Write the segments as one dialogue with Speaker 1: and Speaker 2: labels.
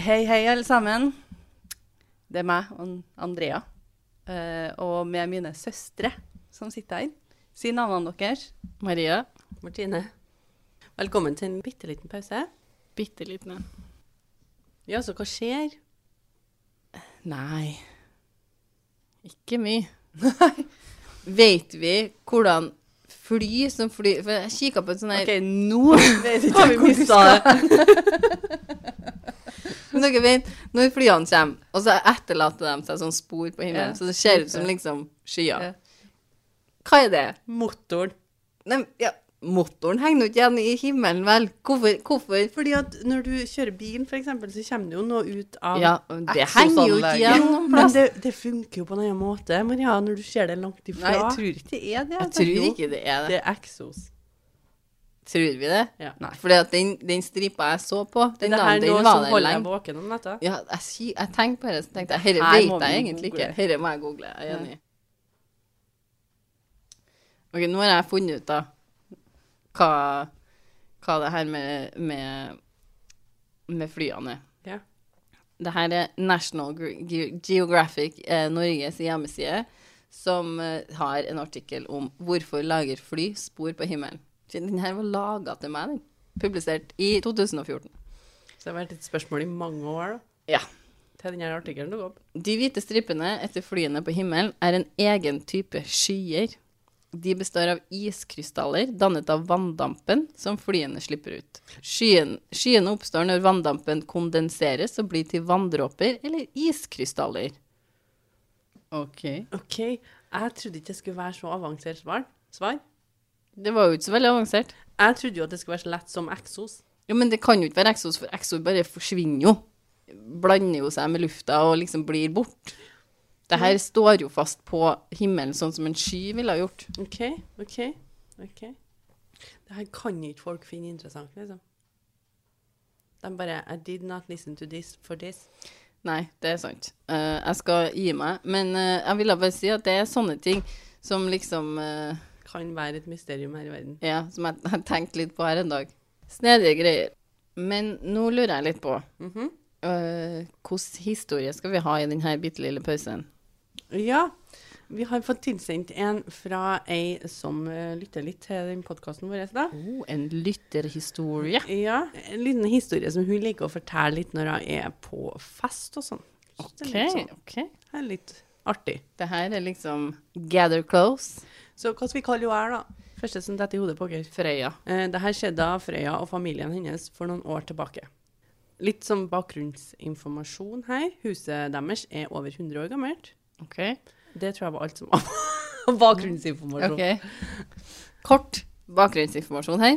Speaker 1: Hei, hei, alle sammen. Det er meg og Andrea. eh, og med mine søstre som sitter her. Si navnene deres.
Speaker 2: Maria,
Speaker 3: Martine, velkommen til en bitte liten pause.
Speaker 2: bitte liten en.
Speaker 3: Ja, så hva skjer?
Speaker 2: Nei, ikke mye. Vet vi hvordan fly som fly For jeg kikka på et sånt her
Speaker 1: OK, nå vet ikke jeg hvor du skal.
Speaker 2: Men dere vet, når flyene kommer, og så etterlater de seg sånn spor på himmelen,
Speaker 1: Ja.
Speaker 2: så det ser ut som liksom
Speaker 1: Ja.
Speaker 2: skyer. Hva er det?
Speaker 3: Motoren.
Speaker 2: Nei, ja, motoren henger jo ikke igjen i himmelen, vel? Hvorfor? hvorfor?
Speaker 3: Fordi at når du kjører bilen, for eksempel, så kommer det jo noe ut av
Speaker 2: Ja, det henger jo ikke
Speaker 1: Eksosanlegg.
Speaker 2: igjen
Speaker 3: Jo,
Speaker 2: noen
Speaker 3: men
Speaker 2: plass.
Speaker 3: det, det funker jo på en annen måte, Maria, når du ser det langt
Speaker 1: Nei,
Speaker 3: ifra.
Speaker 1: jeg tror ikke det er det.
Speaker 2: Jeg
Speaker 1: altså.
Speaker 2: tror ikke det er det.
Speaker 3: det er Exos.
Speaker 2: Tror vi det?
Speaker 3: Ja.
Speaker 1: Nei.
Speaker 2: Fordi at den, den stripa jeg så på, den,
Speaker 3: det her
Speaker 2: dagen
Speaker 3: er noe
Speaker 2: den var
Speaker 3: som
Speaker 2: der
Speaker 3: holder deg
Speaker 2: lenge.
Speaker 3: våken om natta.
Speaker 2: Ja, jeg, si- jeg tenkte på det, så tenkte jeg, herre
Speaker 1: Her må
Speaker 2: vet
Speaker 1: vi
Speaker 2: jeg egentlig
Speaker 1: google.
Speaker 2: ikke. Herre må jeg google, jeg er enig. Ok, nå har jeg funnet ut da, hva, hva det her med, med, med flyene er.
Speaker 3: Ja.
Speaker 2: Det her er National Ge- Ge- Geographic eh, Norges hjemmeside, som eh, har en artikkel om hvorfor lager fly spor på himmelen. Den her var laget til meg, den. Publisert i 2014.
Speaker 3: Så det har vært et spørsmål i mange år da,
Speaker 2: Ja.
Speaker 3: til denne artikkelen dukket opp.
Speaker 2: De hvite strippene etter flyene på himmelen er en egen type skyer. De består av iskrystaller dannet av vanndampen som flyene slipper ut. Skyen, skyene oppstår når vanndampen kondenseres og blir til vanndråper eller iskrystaller.
Speaker 1: OK.
Speaker 3: Ok, jeg trodde ikke det skulle være så avansert svar. svar.
Speaker 2: Det var jo ikke så veldig avansert.
Speaker 3: Jeg trodde jo at det skulle være så lett som Exos.
Speaker 2: Jo, men det kan jo ikke være exos, for exos bare forsvinner jo. Blander jo seg med lufta og liksom blir bort. Det her står jo fast på himmelen, sånn som en sky ville ha gjort.
Speaker 3: OK, OK. ok. Det her kan jo ikke folk finne interessant, liksom. De bare I did not listen to this for this.
Speaker 2: Nei, det er sant. Eh, jeg skal gi meg. Men eh, jeg ville bare si at det er sånne ting som liksom eh,
Speaker 3: Kan være et mysterium her i verden.
Speaker 2: Ja, som jeg jeg tenkte litt på her en dag. Snedige greier. Men nå lurer jeg litt på
Speaker 3: Mhm.
Speaker 2: eh, Hvilken historie skal vi ha i denne bitte lille pausen?
Speaker 3: Ja. Vi har fått tilsendt en fra ei som eh, lytter litt til den podkasten vår. da.
Speaker 2: Oh, en lytterhistorie.
Speaker 3: Ja, En liten historie som hun liker å fortelle litt når hun er på fest og sånn. Så det er
Speaker 2: OK.
Speaker 3: litt sånn-
Speaker 2: ok.
Speaker 3: det er litt artig.
Speaker 2: Det her er liksom gather close.
Speaker 3: Så hva skal vi kalle henne her, da? Første som detter i hodet på dere.
Speaker 2: Frøya.
Speaker 3: Eh, Det her skjedde da Frøya og familien hennes for noen år tilbake. Litt som bakgrunnsinformasjon her. Huset deres er over 100 år gammelt.
Speaker 2: OK.
Speaker 3: Det tror jeg var alt som var bakgrunnsinformasjon.
Speaker 2: ok. Kort bakgrunnsinformasjon her.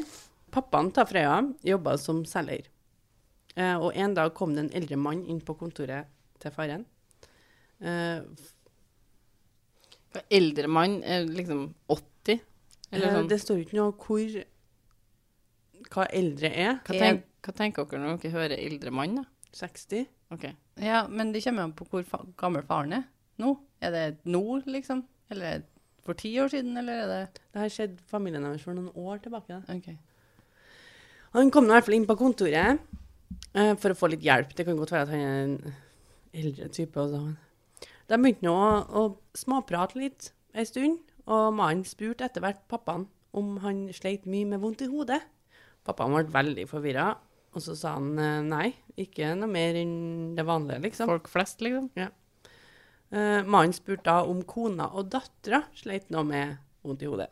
Speaker 3: Pappaen til Frøya jobba som selger. Eh, Og en dag kom det en eldre mann inn på kontoret til faren. Eh,
Speaker 2: For Eldre mann er liksom 80? Eller
Speaker 3: eh,
Speaker 2: sånn.
Speaker 3: Det står jo ikke noe hvor hva eldre er.
Speaker 2: Hva,
Speaker 1: Jeg-
Speaker 2: tenk, hva tenker dere når dere hører eldre mann, da?
Speaker 3: 60.
Speaker 2: Ok.
Speaker 1: Ja, men det kommer an på hvor fa gammel faren er nå. Er det nå, liksom? Eller er det for ti år siden, eller er det
Speaker 3: Det her skjedde familien deres for noen år tilbake. da.
Speaker 1: OK.
Speaker 3: Han kom nå i hvert fall inn på kontoret eh, for å få litt hjelp. Det kan godt være at han er en eldre type. Også. De begynte nå å, å småprate litt ei stund, og mannen spurte etter hvert pappaen om han sleit mye med vondt i hodet. Pappaen ble veldig forvirra, og så sa han eh, nei, ikke noe mer enn det vanlige, liksom.
Speaker 2: Folk flest, liksom?
Speaker 3: Eh, mannen spurte da om kona og dattera sleit noe med vondt i hodet.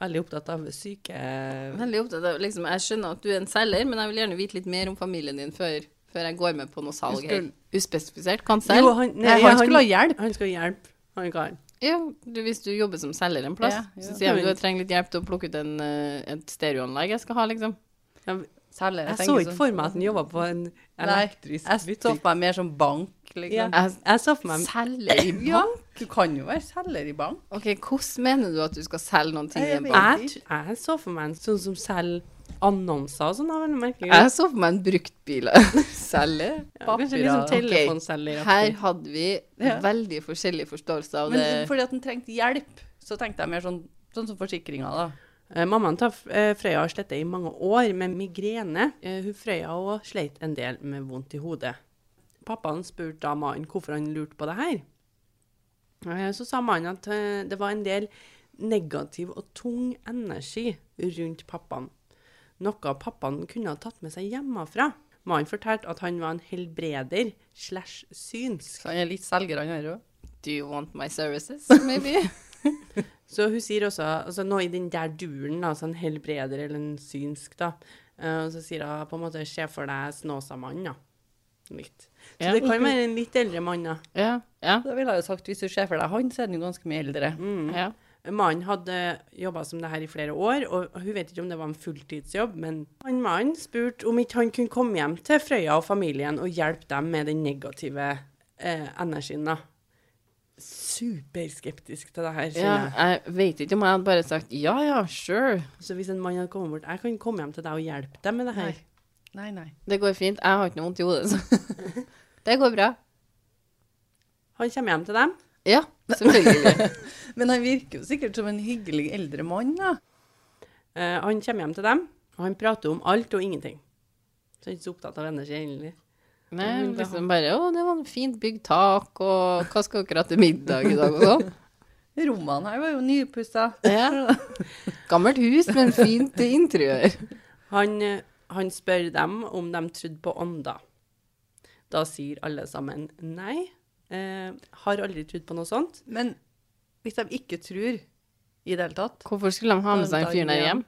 Speaker 3: Veldig opptatt av syke...
Speaker 2: Veldig opptatt av, liksom, Jeg skjønner at du er en selger, men jeg vil gjerne vite litt mer om familien din før, før jeg går med på noe salg her.
Speaker 3: Skulle-
Speaker 2: Uspesifisert. Kan
Speaker 3: Jo,
Speaker 2: selge?
Speaker 3: han,
Speaker 1: Nei, han skulle ha hjelp.
Speaker 3: Han skulle ha hjelp, han karen.
Speaker 2: Ja, du, hvis du jobber som selger en plass,
Speaker 1: Ja, ja.
Speaker 2: så sier jeg at du trenger litt hjelp til å plukke ut en, eh, et stereoanlegg jeg skal ha, liksom.
Speaker 3: Jeg,
Speaker 1: Selger,
Speaker 3: jeg så
Speaker 1: tenker
Speaker 3: ikke
Speaker 1: sånn.
Speaker 3: for meg at han jobba på en
Speaker 1: Nei,
Speaker 3: elektrisk
Speaker 1: jeg så
Speaker 3: butikk.
Speaker 1: for meg mer som bank,
Speaker 3: Ja.
Speaker 1: liksom.
Speaker 2: Jeg
Speaker 3: Jeg så for meg
Speaker 2: selger i
Speaker 1: Ja,
Speaker 2: bank?
Speaker 1: du kan jo være selger i bank.
Speaker 2: OK, hvordan mener du at du skal selge noen ting i en
Speaker 1: Jeg
Speaker 2: bank?
Speaker 3: jeg, tr- jeg så for meg en sånn som selger annonser og sånn. av en merkelig grunn.
Speaker 2: Jeg så for meg en bruktbilselger.
Speaker 3: Ja, Kanskje
Speaker 1: papirer.
Speaker 3: liksom
Speaker 1: Ok.
Speaker 3: telefonselger.
Speaker 2: Her hadde vi
Speaker 1: Ja.
Speaker 2: veldig forskjellig forståelse av det.
Speaker 1: Men fordi at han trengte hjelp, så tenkte jeg mer sånn, sånn som forsikringa, da.
Speaker 3: Eh, Mammaen til eh, Frøya har slitt i mange år med migrene. Eh, Hun Frøya òg sleit en del med vondt i hodet. Pappaen spurte da mannen hvorfor han lurte på det her. Eh, Så sa mannen at eh, det var en del negativ og tung energi rundt pappaen. Noe pappaen kunne ha tatt med seg hjemmefra. Mannen fortalte at han var en helbreder slash
Speaker 1: Så
Speaker 3: synsk.
Speaker 1: han er litt selger, han her òg.
Speaker 2: Do you want my services, maybe?
Speaker 3: Så hun sier også altså noe i den der duren, altså en helbreder eller en synsk, da. Eh, og så sier hun på en måte 'se for deg Snåsamannen', da. Litt. Så
Speaker 2: Ja.
Speaker 3: det kan være en litt eldre mann, da.
Speaker 2: ja. Ja. Mm.
Speaker 1: Da ville jeg jo sagt, hvis du ser for deg han, så er han jo ganske mye eldre.
Speaker 2: ja.
Speaker 3: Mannen hadde jobba som det her i flere år, og hun vet ikke om det var en fulltidsjobb, men han mannen spurte om ikke han kunne komme hjem til Frøya og familien og hjelpe dem med den negative eh, energien, da. Superskeptisk til det her,
Speaker 2: ja.
Speaker 3: kjenner jeg.
Speaker 2: Jeg vet ikke om jeg hadde bare sagt ja, ja, sure.
Speaker 3: Så hvis en mann hadde kommet bort 'Jeg kan komme hjem til deg og hjelpe deg med det her',
Speaker 1: Nei, nei.
Speaker 2: Det går fint. Jeg har ikke noe vondt i hodet, så Det går bra.
Speaker 3: han kommer hjem til dem.
Speaker 2: Ja, selvfølgelig.
Speaker 1: Men han virker jo sikkert som en hyggelig eldre mann, da.
Speaker 3: Eh, han kommer hjem til dem, og han prater om alt og ingenting. Så han er ikke så opptatt av energi, egentlig.
Speaker 2: Nei, liksom bare Å, det var en fint bygd tak, og hva skal dere ha til middag i dag, og sånn.
Speaker 1: Rommene her var jo nypussa.
Speaker 2: Ja. Gammelt hus, men fint interiør.
Speaker 3: Han, eh, han spør dem om de trodde på ånder. Da sier alle sammen nei. Eh, har aldri trodd på noe sånt.
Speaker 1: Men hvis de ikke tror i det hele tatt
Speaker 2: Hvorfor skulle de ha med seg den fyren her hjem?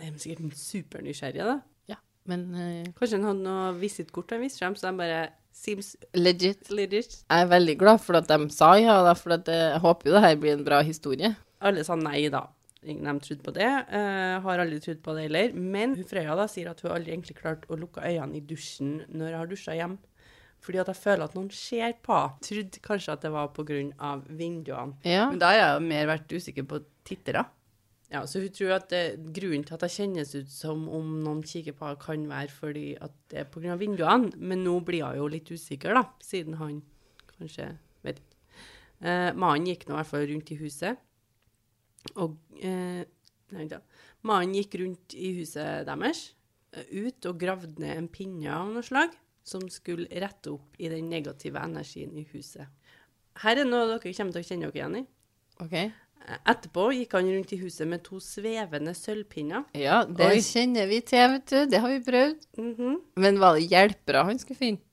Speaker 3: De er sikkert supernysgjerrige, da.
Speaker 2: Ja, men eh,
Speaker 3: Kanskje han hadde noe visittkort han viste frem, så de bare Seems
Speaker 2: legit.
Speaker 3: legit.
Speaker 2: Jeg er veldig glad for at de sa ja, da, for at eh, jeg håper jo det her blir en bra historie.
Speaker 3: Alle sa nei, da. Ingen av dem trodde på det. Eh, har aldri trodd på det heller. Men hun Frøya da sier at hun aldri egentlig klarte å lukke øynene i dusjen når jeg har dusja hjem. Fordi at jeg føler at noen ser på. Trodde kanskje at det var pga. vinduene.
Speaker 2: Ja.
Speaker 1: Men da har jeg jo mer vært usikker på tittere.
Speaker 3: Ja, så hun tror at det, grunnen til at det kjennes ut som om noen kikker på henne, kan være fordi at det er pga. vinduene. Men nå blir hun jo litt usikker, da, siden han kanskje vet ikke. Eh, Mannen gikk nå i hvert fall rundt i huset. Og eh, Nei, vent da. Mannen gikk rundt i huset deres, eh, ut og gravde ned en pinne av noe slag, som skulle rette opp i den negative energien i huset. Her er noe dere kommer til å kjenne dere igjen i.
Speaker 2: OK.
Speaker 3: Etterpå gikk han rundt i huset med to svevende sølvpinner.
Speaker 2: Ja, det
Speaker 1: Oi.
Speaker 2: kjenner vi til, vet du. Det har vi prøvd. Men var det hjelpere han skulle finne?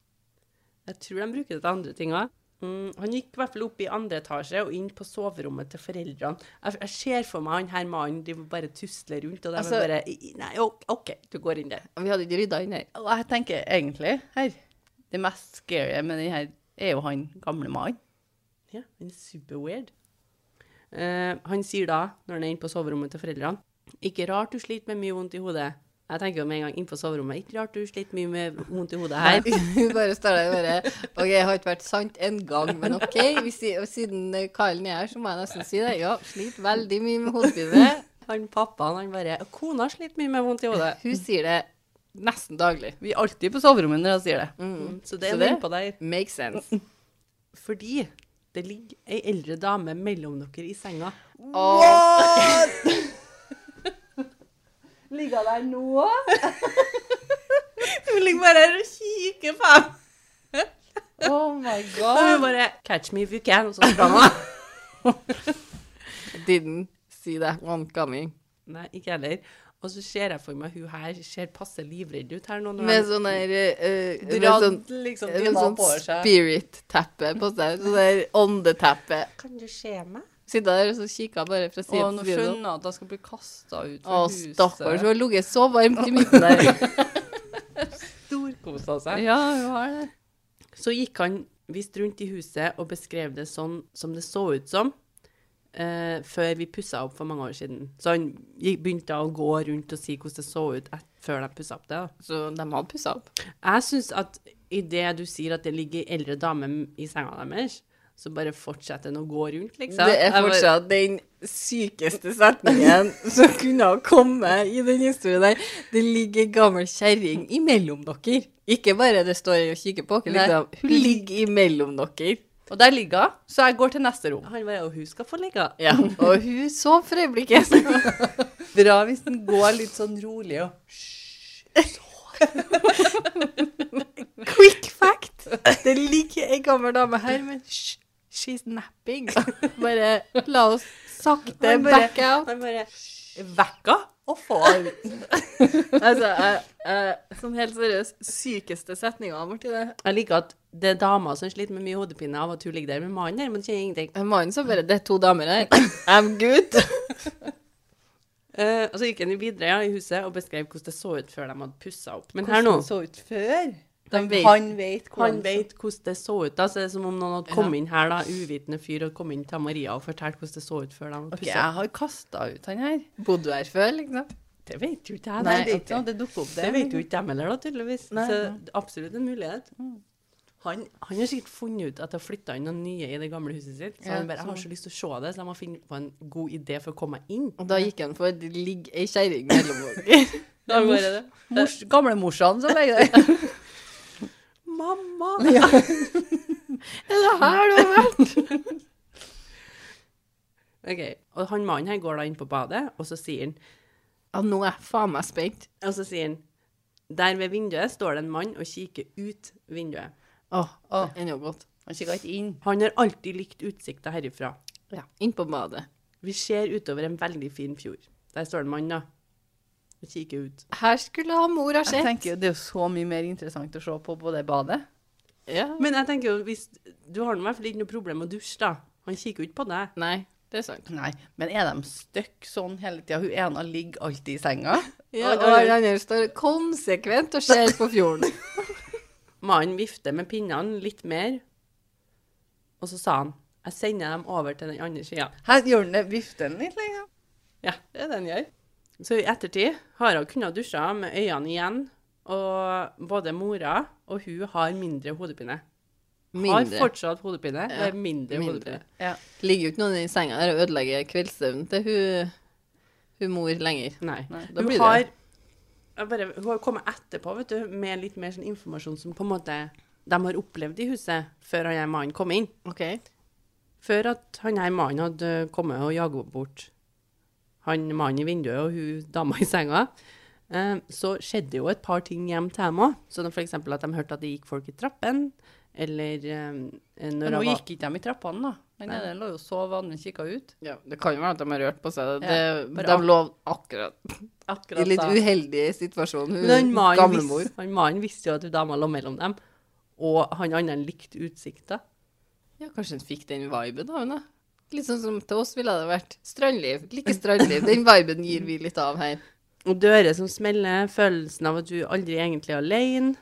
Speaker 3: Jeg tror de bruker det til andre ting òg. Mm, han gikk i hvert fall opp i andre etasje og inn på soverommet til foreldrene. Jeg, jeg ser for meg han her mannen de bare tusler rundt, og de
Speaker 1: Altså-
Speaker 3: er bare i- i- Nei, ok, OK, du går inn der.
Speaker 2: Vi hadde ikke rydda inn her.
Speaker 1: Og jeg tenker egentlig her Det mest scary med den her er jo han gamle mannen.
Speaker 3: Ja, men superweird. Eh, han sier da, når han er inne på soverommet til foreldrene, ikke rart du sliter med mye vondt i hodet. Jeg tenker jo med en gang inn på soverommet, ikke rart du sliter mye med vondt i hodet her.
Speaker 2: Hun bare står der og bare OK, jeg har ikke vært sant en gang, men OK. Hvis jeg, og siden eh, Karen er her, så må jeg nesten si det. Ja, sliter veldig mye med hodepine.
Speaker 3: Han pappaen, han bare Kona sliter mye med vondt i hodet.
Speaker 2: Hun sier det nesten daglig.
Speaker 1: Vi er alltid på soverommet når han sier det.
Speaker 3: Mm, Så det
Speaker 2: Så
Speaker 3: er
Speaker 2: det-
Speaker 3: noe på der.
Speaker 2: Makes sense.
Speaker 3: Fordi det ligger ei eldre dame mellom dere i senga.
Speaker 1: Ligger der nå?
Speaker 3: Hun ligger bare her og kikker på ham.
Speaker 2: Oh my
Speaker 3: Og hun
Speaker 2: god.
Speaker 3: bare 'Catch me if you can', og så sprang hun.
Speaker 2: Didn't see that one coming.
Speaker 3: Nei, ikke heller. Og så ser jeg for meg hun her ser passe livredd ut her nå. Når
Speaker 2: Med
Speaker 3: han
Speaker 2: sånn der eh, med sånn,
Speaker 1: Dratt liksom
Speaker 2: med
Speaker 1: dyna
Speaker 2: sånn
Speaker 1: oppover seg.
Speaker 2: spirit-teppe på seg. Sånn der åndeteppe.
Speaker 3: Kan du se meg?
Speaker 2: Sitter der og så kikker bare fra
Speaker 1: Og
Speaker 2: siden
Speaker 1: nå
Speaker 2: til siden.
Speaker 1: skjønner jeg at han skal bli kasta ut
Speaker 2: Å,
Speaker 1: fra huset.
Speaker 2: stakkars. Hun har ligget så varmt i midten der.
Speaker 3: Storkosa seg.
Speaker 2: Ja, hun har det.
Speaker 3: Så gikk han visst rundt i huset og beskrev det sånn som det så ut som. Eh, før vi pussa opp for mange år siden. Så han gikk, begynte å gå rundt og si hvordan det så ut et, før de pussa opp det. da.
Speaker 2: Så de hadde pussa opp.
Speaker 3: Jeg syns at idet du sier at det ligger ei eldre dame i senga deres, så bare fortsetter den å gå rundt, liksom.
Speaker 2: Det er
Speaker 3: Jeg bare-
Speaker 2: fortsatt den sykeste setningen som kunne ha kommet i den historien der. Det ligger ei gammel kjerring imellom dere. Ikke bare det står ei og kikker på dere,
Speaker 1: Nei.
Speaker 2: liksom. Hun ligger imellom dere.
Speaker 1: Og der ligger hun, så jeg går til neste rom.
Speaker 3: Han bare Og hun skal få ligge.
Speaker 2: Ja, og hun sov for øyeblikket. sånn
Speaker 1: Bra hvis den går litt sånn rolig og
Speaker 2: Quick fact.
Speaker 1: Det ligger ei gammel dame her, men sh, she's napping. Bare la oss sakte
Speaker 3: Han bare-
Speaker 1: back out.
Speaker 3: Han bare Vekka og far.
Speaker 1: Altså, jeg- jeg- sånn helt seriøst, sykeste setninga, Martine.
Speaker 3: Jeg liker at det er damer som sliter med mye hodepine av at hun ligger der med mannen der, men kjenner ingenting.
Speaker 2: Mannen sa bare 'Det er to damer her. I'm good'.
Speaker 3: Eh, og så gikk han jo videre ja, i huset og beskrev hvordan det så ut før de hadde pussa opp. Men her nå
Speaker 1: så ut før.
Speaker 2: De vet.
Speaker 1: Han vet hvordan
Speaker 3: Han vet hvordan det så ut. da, så det er som om noen hadde kommet inn her, da, uvitende fyr, og kommet inn til Maria og fortalt hvordan det så ut før de hadde
Speaker 1: Ok,
Speaker 3: pussa
Speaker 1: jeg har kasta ut han her.
Speaker 2: Bodde du her før, liksom?
Speaker 3: Det vet jo ikke
Speaker 1: Nei,
Speaker 3: jeg. da.
Speaker 1: det, er ikke noe, det dukker opp, det.
Speaker 3: Det vet jo ikke dem heller, da, tydeligvis.
Speaker 1: Nei, Mm.
Speaker 3: så
Speaker 1: nei.
Speaker 3: det er absolutt en mulighet. Han, han har sikkert funnet ut at det har flytta inn noen nye i det gamle huset sitt. Så
Speaker 2: Ja,
Speaker 3: han bare, jeg
Speaker 2: så-
Speaker 3: har
Speaker 1: sånn.
Speaker 3: så lyst til å se det, så jeg må finne på en god idé for å komme meg inn.
Speaker 2: Og da gikk han for 'Det ligger ei kjerring mellom dere'.
Speaker 3: Da bare det.
Speaker 1: Mors, Gamlemorsan som legger der.
Speaker 3: Mamma!
Speaker 2: Er det her du har vært?
Speaker 3: Ok, Og han mannen her går da inn på badet, og så sier han
Speaker 2: Ja, nå er jeg faen meg spent.
Speaker 3: Og så sier han Der ved vinduet står det en mann og kikker ut vinduet.
Speaker 2: Åh,
Speaker 1: Åh.
Speaker 2: ennå godt.
Speaker 1: Han kikka ikke inn.
Speaker 3: Han har alltid likt utsikta herifra.
Speaker 2: Ja. Inn på badet.
Speaker 3: Vi ser utover en veldig fin fjord. Der står det en mann, da. Og kikker ut.
Speaker 2: Her skulle ha mor ha
Speaker 1: Jeg
Speaker 2: sett.
Speaker 1: tenker jo, Det er jo så mye mer interessant å se på på det badet.
Speaker 2: Ja.
Speaker 3: Men jeg tenker jo, hvis du har nå i hvert fall ikke noe problem med å dusje, da. Han kikker jo ikke på deg.
Speaker 2: Nei, det er sant.
Speaker 1: Nei, men er de støkk sånn hele tida? Hun ene ligger alltid i senga.
Speaker 2: Ja,
Speaker 3: og-
Speaker 2: og han andre står konsekvent og ser på fjorden.
Speaker 3: Mannen vifter med pinnene litt mer, og så sa han Jeg sender dem over til den andre sida.
Speaker 1: Her gjør den det, vifter den litt, liksom.
Speaker 3: Ja, det er det han gjør. Så i ettertid har hun kunnet dusje med øynene igjen, og både mora og hun har mindre hodepine. Har
Speaker 2: Mindre.
Speaker 3: fortsatt hodepine,
Speaker 2: Ja,
Speaker 3: men mindre,
Speaker 2: mindre.
Speaker 3: hodepine.
Speaker 1: Ja.
Speaker 2: Ligger jo ikke noen i senga der og ødelegger kveldssøvnen til hun, hun mor lenger.
Speaker 3: Nei.
Speaker 1: Nei,
Speaker 2: da
Speaker 3: hun,
Speaker 2: blir det-
Speaker 3: har, jeg bare, hun har kommet etterpå vet du, med litt mer sånn informasjon som på en måte de har opplevd i huset før han her mannen kom inn.
Speaker 2: Ok.
Speaker 3: Før at han her mannen hadde kommet og jaget bort han mannen i vinduet og hun dama i senga, eh, så skjedde jo et par ting hjem til dem òg. Sånn f.eks. at de hørte at det gikk folk i trappen, eller eh, når
Speaker 1: Men nå
Speaker 3: hun var
Speaker 1: gikk ikke de i trappene, da. Den
Speaker 3: Nei.
Speaker 1: ene lå jo og sov, og andre kikka ut.
Speaker 2: Ja, det kan jo være at de har rørt på seg. Det,
Speaker 1: Ja, bare
Speaker 2: de
Speaker 1: ak-
Speaker 2: lå akkurat i
Speaker 3: akkurat
Speaker 2: litt
Speaker 3: da.
Speaker 2: uheldig situasjon.
Speaker 3: Men han
Speaker 2: Hun
Speaker 3: mannen
Speaker 2: gamlemor.
Speaker 3: visste, han mannen visste jo at hun dama lå mellom dem, og han andre likte utsikta.
Speaker 2: Ja, kanskje hun fikk den viben av henne. Litt sånn som til oss ville det vært. Strandliv. Like strandliv. Den viben gir vi litt av her.
Speaker 3: Og dører som smeller, følelsen av at hun aldri egentlig er alene.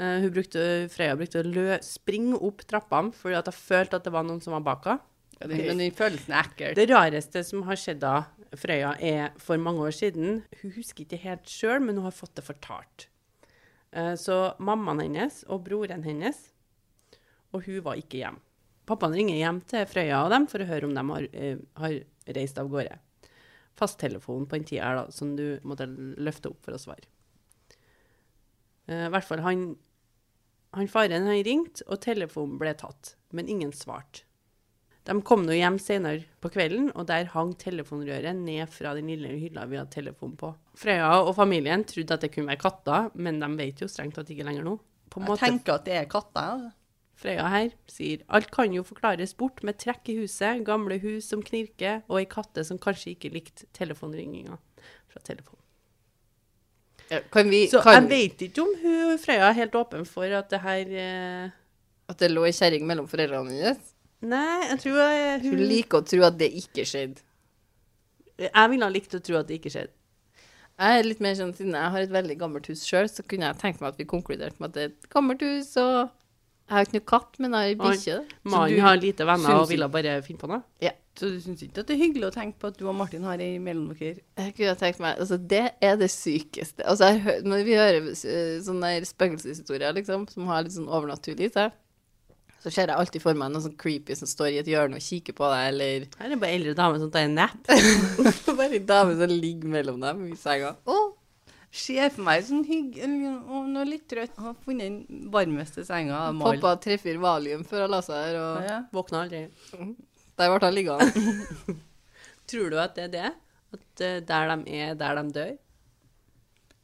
Speaker 3: Eh, hun brukte, Freya brukte å lø, springe opp trappene fordi at hun følte at det var noen som var bak henne.
Speaker 1: Ja, den, men den følelsen er ekkel.
Speaker 3: Det rareste som har skjedd da Frøya, er for mange år siden Hun husker ikke helt sjøl, men hun har fått det fortalt. Eh, Så mammaen hennes og broren hennes Og hun var ikke hjemme. Pappaen ringer hjem til Frøya og dem for å høre om de har, eh, har reist av gårde. Fasttelefonen på den tida her, da, som du måtte løfte opp for å svare. Eh, I hvert fall han, han faren han ringte, og telefonen ble tatt. Men ingen svarte. De kom nå hjem senere på kvelden, og der hang telefonrøret ned fra den lille hylla vi hadde telefon på. Frøya og familien trodde at det kunne være katter, men de vet jo strengt tatt ikke lenger nå. På en
Speaker 1: Jeg
Speaker 3: måte,
Speaker 1: tenker at det er katta. jeg, da.
Speaker 3: Frøya her sier alt kan jo forklares bort med trekk i huset, gamle hus som knirker, og ei katte som kanskje ikke likte telefonringinga fra telefonen.
Speaker 2: Ja, Kan vi
Speaker 3: Så
Speaker 2: kan,
Speaker 3: jeg vet ikke om hun, Frøya er helt åpen for at det her eh,
Speaker 2: At det lå ei kjerring mellom foreldrene hennes?
Speaker 3: Nei, jeg tror jeg,
Speaker 2: Du
Speaker 3: hun
Speaker 2: liker å tro at det ikke skjedde.
Speaker 3: Jeg ville ha likt å tro at det ikke skjedde.
Speaker 2: Jeg er litt mer sånn, Siden jeg har et veldig gammelt hus sjøl, så kunne jeg tenkt meg at vi konkluderte med at det er et gammelt hus. og Jeg har ikke noe katt, men jeg har ei
Speaker 3: Oi.
Speaker 2: bikkje. da. Så
Speaker 3: Mannen
Speaker 2: du-
Speaker 3: har lite venner
Speaker 2: synes
Speaker 3: og ville bare finne på noe.
Speaker 1: Så du syns ikke at det er hyggelig å tenke på at du og Martin har ei mellom dere?
Speaker 2: Jeg kunne tenkt meg, altså Det er det sykeste. Altså, jeg, hø- når vi hører eh, sånne der spøkelseshistorier liksom, som har litt sånn overnaturlig i seg, så ser jeg alltid for meg noe sånn creepy som står i et hjørne og kikker på deg, eller
Speaker 3: Her er det bare eldre damer som tar en nap.
Speaker 2: bare en dame som ligger mellom dem i senga.
Speaker 1: Å, ser for meg sånn hygg... Og nå er jeg litt trøtt. Har funnet den varmeste senga. av Mal.
Speaker 2: Pappa treffer valium før han la seg her, og
Speaker 1: Ja.
Speaker 3: Våkner aldri.
Speaker 2: der ble han liggende.
Speaker 3: Tror du at det er det? At eh, der de er, der de dør?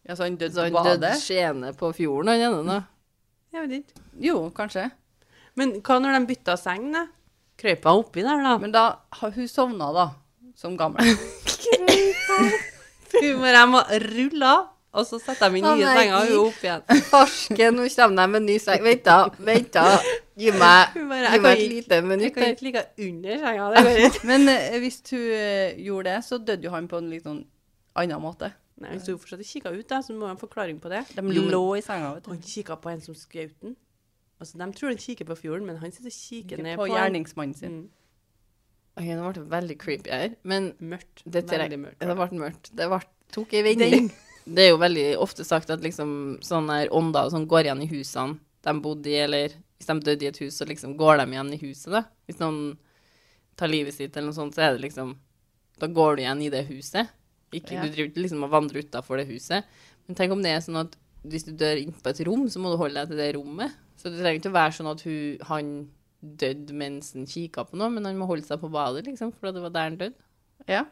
Speaker 1: Ja, så han døde
Speaker 2: Så
Speaker 1: på
Speaker 2: han døde
Speaker 1: badet?
Speaker 2: skjene på fjorden, han ene. da.
Speaker 3: Jeg vet ikke.
Speaker 1: Jo, kanskje.
Speaker 3: Men hva når de bytta seng, da? Krøyp hun oppi der, da?
Speaker 1: Men da har hun sovna, da. Som gammel.
Speaker 3: Du må jeg må rulle av, og så setter jeg min
Speaker 1: Å,
Speaker 3: nye
Speaker 1: nei.
Speaker 3: seng og hun opp igjen.
Speaker 2: Farsken, nå kommer de med en ny seng. Vent, da. Vent, da. Gi meg,
Speaker 3: Hun
Speaker 2: gi
Speaker 3: bare, jeg kan
Speaker 2: meg et
Speaker 3: ikke-
Speaker 2: lite
Speaker 3: Jeg
Speaker 2: minutt
Speaker 3: kan
Speaker 2: her.
Speaker 3: ikke ligge under senga. Det går ikke.
Speaker 1: Men eh, hvis hun eh, gjorde det, så døde jo han på en litt sånn annen måte.
Speaker 3: Nei, Hvis hun fortsatt kikka ut, da, så må jeg ha en forklaring på det.
Speaker 1: De
Speaker 2: Jo, men-
Speaker 1: lå i senga, vet
Speaker 3: Og
Speaker 1: du.
Speaker 3: han kikka på en som skjøt den. Altså, de tror han kikker på fjorden, men han sitter og kikker ned
Speaker 1: På
Speaker 3: på en
Speaker 1: gjerningsmannen sin.
Speaker 3: Mm.
Speaker 2: Ok, nå ble det veldig creepy her. Men
Speaker 3: Mørkt.
Speaker 2: det, tre...
Speaker 3: Veldig mørkt.
Speaker 2: det ble mørkt. Det ble... tok ei vending. Det er jo veldig ofte sagt at liksom sånne her ånder og sånn går igjen i husene de bodde i, eller hvis de døde i et hus, så liksom går de igjen i huset, da. Hvis noen tar livet sitt eller noe sånt, så er det liksom Da går du igjen i det huset. Ikke,
Speaker 1: Ja.
Speaker 2: Du driver ikke liksom og vandrer utafor det huset. Men tenk om det er sånn at hvis du dør inn på et rom, så må du holde deg til det rommet. Så det trenger ikke å være sånn at hun, han døde mens han kikka på noe, men han må holde seg på badet, liksom, for det var der han døde.
Speaker 1: Ja.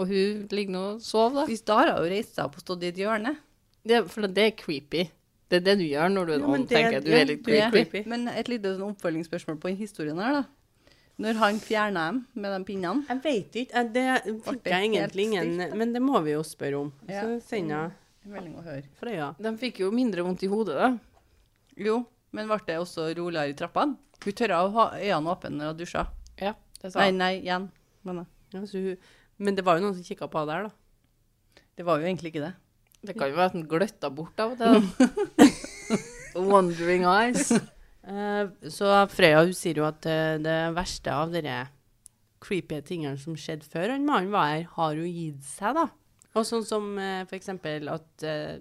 Speaker 2: Og hun ligger nå og sover, da.
Speaker 1: Hvis da har hun reist seg opp og stått i et hjørne
Speaker 2: Det, for det er creepy. Det er det du gjør når du er en
Speaker 3: Jo, men
Speaker 2: ånd,
Speaker 3: det-
Speaker 2: tenker jeg. Du
Speaker 3: ja,
Speaker 2: er litt
Speaker 3: du er-
Speaker 2: creepy.
Speaker 3: creepy.
Speaker 1: eh, Men et lite sånn oppfølgingsspørsmål på den historien her, da. Når han fjerna dem med de pinnene
Speaker 3: Jeg vet ikke. jeg- Det
Speaker 1: Ble
Speaker 3: fikk
Speaker 1: det
Speaker 3: jeg egentlig
Speaker 1: helt
Speaker 3: ingen Men det må vi jo spørre om.
Speaker 1: Ja.
Speaker 3: Så sender jeg
Speaker 1: Melding å høre.
Speaker 3: Frøya.
Speaker 2: De fikk jo mindre vondt i hodet, da.
Speaker 1: Jo, men ble det også roligere i trappene? Hun tørra å ha øynene åpne når hun dusja.
Speaker 2: Ja, det
Speaker 1: Nei, nei, igjen. Men
Speaker 3: Ja, så Altså, hun- men det var jo noen som kikka på henne der, da.
Speaker 1: det var jo egentlig ikke det.
Speaker 2: Det kan jo være at den gløtta bort av og til. da. Wondering eyes.
Speaker 3: Eh, Så Frøya hun sier jo at eh, det verste av de creepy tingene som skjedde før han mannen var her, har jo gitt seg, da. Og sånn som eh, for eksempel at eh,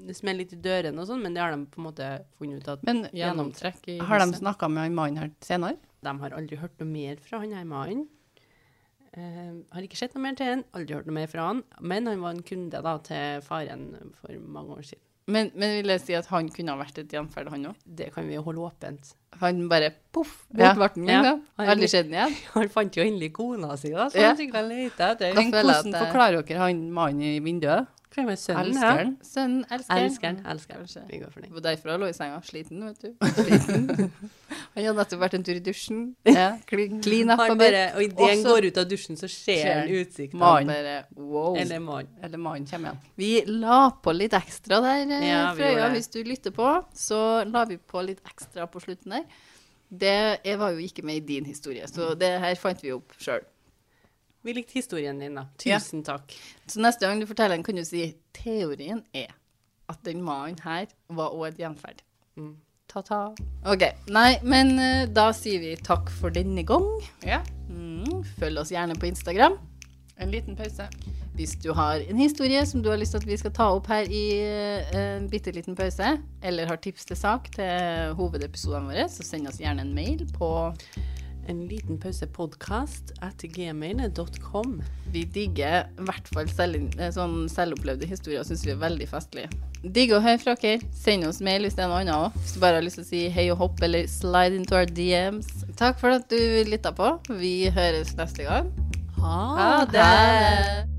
Speaker 3: det smeller litt i dørene og sånn, men det har de på en måte funnet ut at
Speaker 1: Men
Speaker 2: Gjennomtrekk i
Speaker 1: har de
Speaker 2: huset.
Speaker 1: snakka med han mannen her senere?
Speaker 3: De har aldri hørt noe mer fra han her mannen. Eh, har ikke sett noe mer til han, aldri hørt noe mer fra han. Men han var en kunde da, til faren for mange år siden.
Speaker 2: Men, men vil jeg si at han kunne ha vært et gjenferd, han òg?
Speaker 3: Det kan vi jo holde åpent.
Speaker 2: Han bare poff, bort
Speaker 1: Ja.
Speaker 2: ble han igjen,
Speaker 3: Ja.
Speaker 2: da. Aldri sett den igjen.
Speaker 3: Han fant jo endelig kona si, da, så
Speaker 2: Ja.
Speaker 3: han sikkert leita etter.
Speaker 2: Da
Speaker 1: Men
Speaker 2: føler jeg
Speaker 1: hvordan
Speaker 2: at jeg-
Speaker 1: forklarer dere han mannen i vinduet?
Speaker 3: Hva med sønnen?
Speaker 1: Elsker han?
Speaker 2: Sønnen elsker
Speaker 3: Elsker han. Elsker
Speaker 2: Kanskje.
Speaker 3: han. Vi går for den.
Speaker 2: Det var derfor han lå i senga, sliten, vet du. Sliten. Han hadde nettopp vært en tur i dusjen.
Speaker 1: Ja.
Speaker 2: Clean clean up
Speaker 3: Han
Speaker 2: og
Speaker 3: bare,
Speaker 2: bare
Speaker 3: og idet han
Speaker 2: Også-
Speaker 3: går ut av dusjen, så ser
Speaker 2: Ser han.
Speaker 3: han utsikten.
Speaker 1: Mann.
Speaker 2: bare, wow.
Speaker 3: Eller mannen.
Speaker 1: Eller mannen kommer igjen.
Speaker 2: Vi la på litt ekstra der, eh,
Speaker 3: Ja, vi gjorde
Speaker 2: Frøya,
Speaker 3: det.
Speaker 2: hvis du lytter på. Så la vi på litt ekstra på slutten der. Det jeg var jo ikke med i din historie, så det her fant vi opp sjøl.
Speaker 3: Vi likte historien din, da.
Speaker 2: Ja.
Speaker 3: Tusen takk.
Speaker 2: Så neste gang du forteller den, kan du si teorien er at den mannen her var òg et gjenferd.
Speaker 3: Mm.
Speaker 2: Ta-ta. OK. Nei, men eh, da sier vi takk for denne gang.
Speaker 1: Ja.
Speaker 2: Mm, følg oss gjerne på Instagram.
Speaker 1: En liten pause.
Speaker 2: Hvis du har en historie som du har lyst til at vi skal ta opp her i eh, en bitte liten pause, eller har tips til sak til hovedepisodene våre, så send oss gjerne en mail på
Speaker 3: En liten pause podcast at gmail.com.
Speaker 2: Vi digger i hvert fall selv, eh, sånn selvopplevde historier, syns vi er veldig festlige. Digg å høre fra dere. Send oss mail hvis det er noe annet òg. Hvis du bare har lyst til å si hei og hopp, eller slide into our DMs. Takk for at du lytta på. Vi høres neste gang.
Speaker 3: Ha
Speaker 2: Ha det!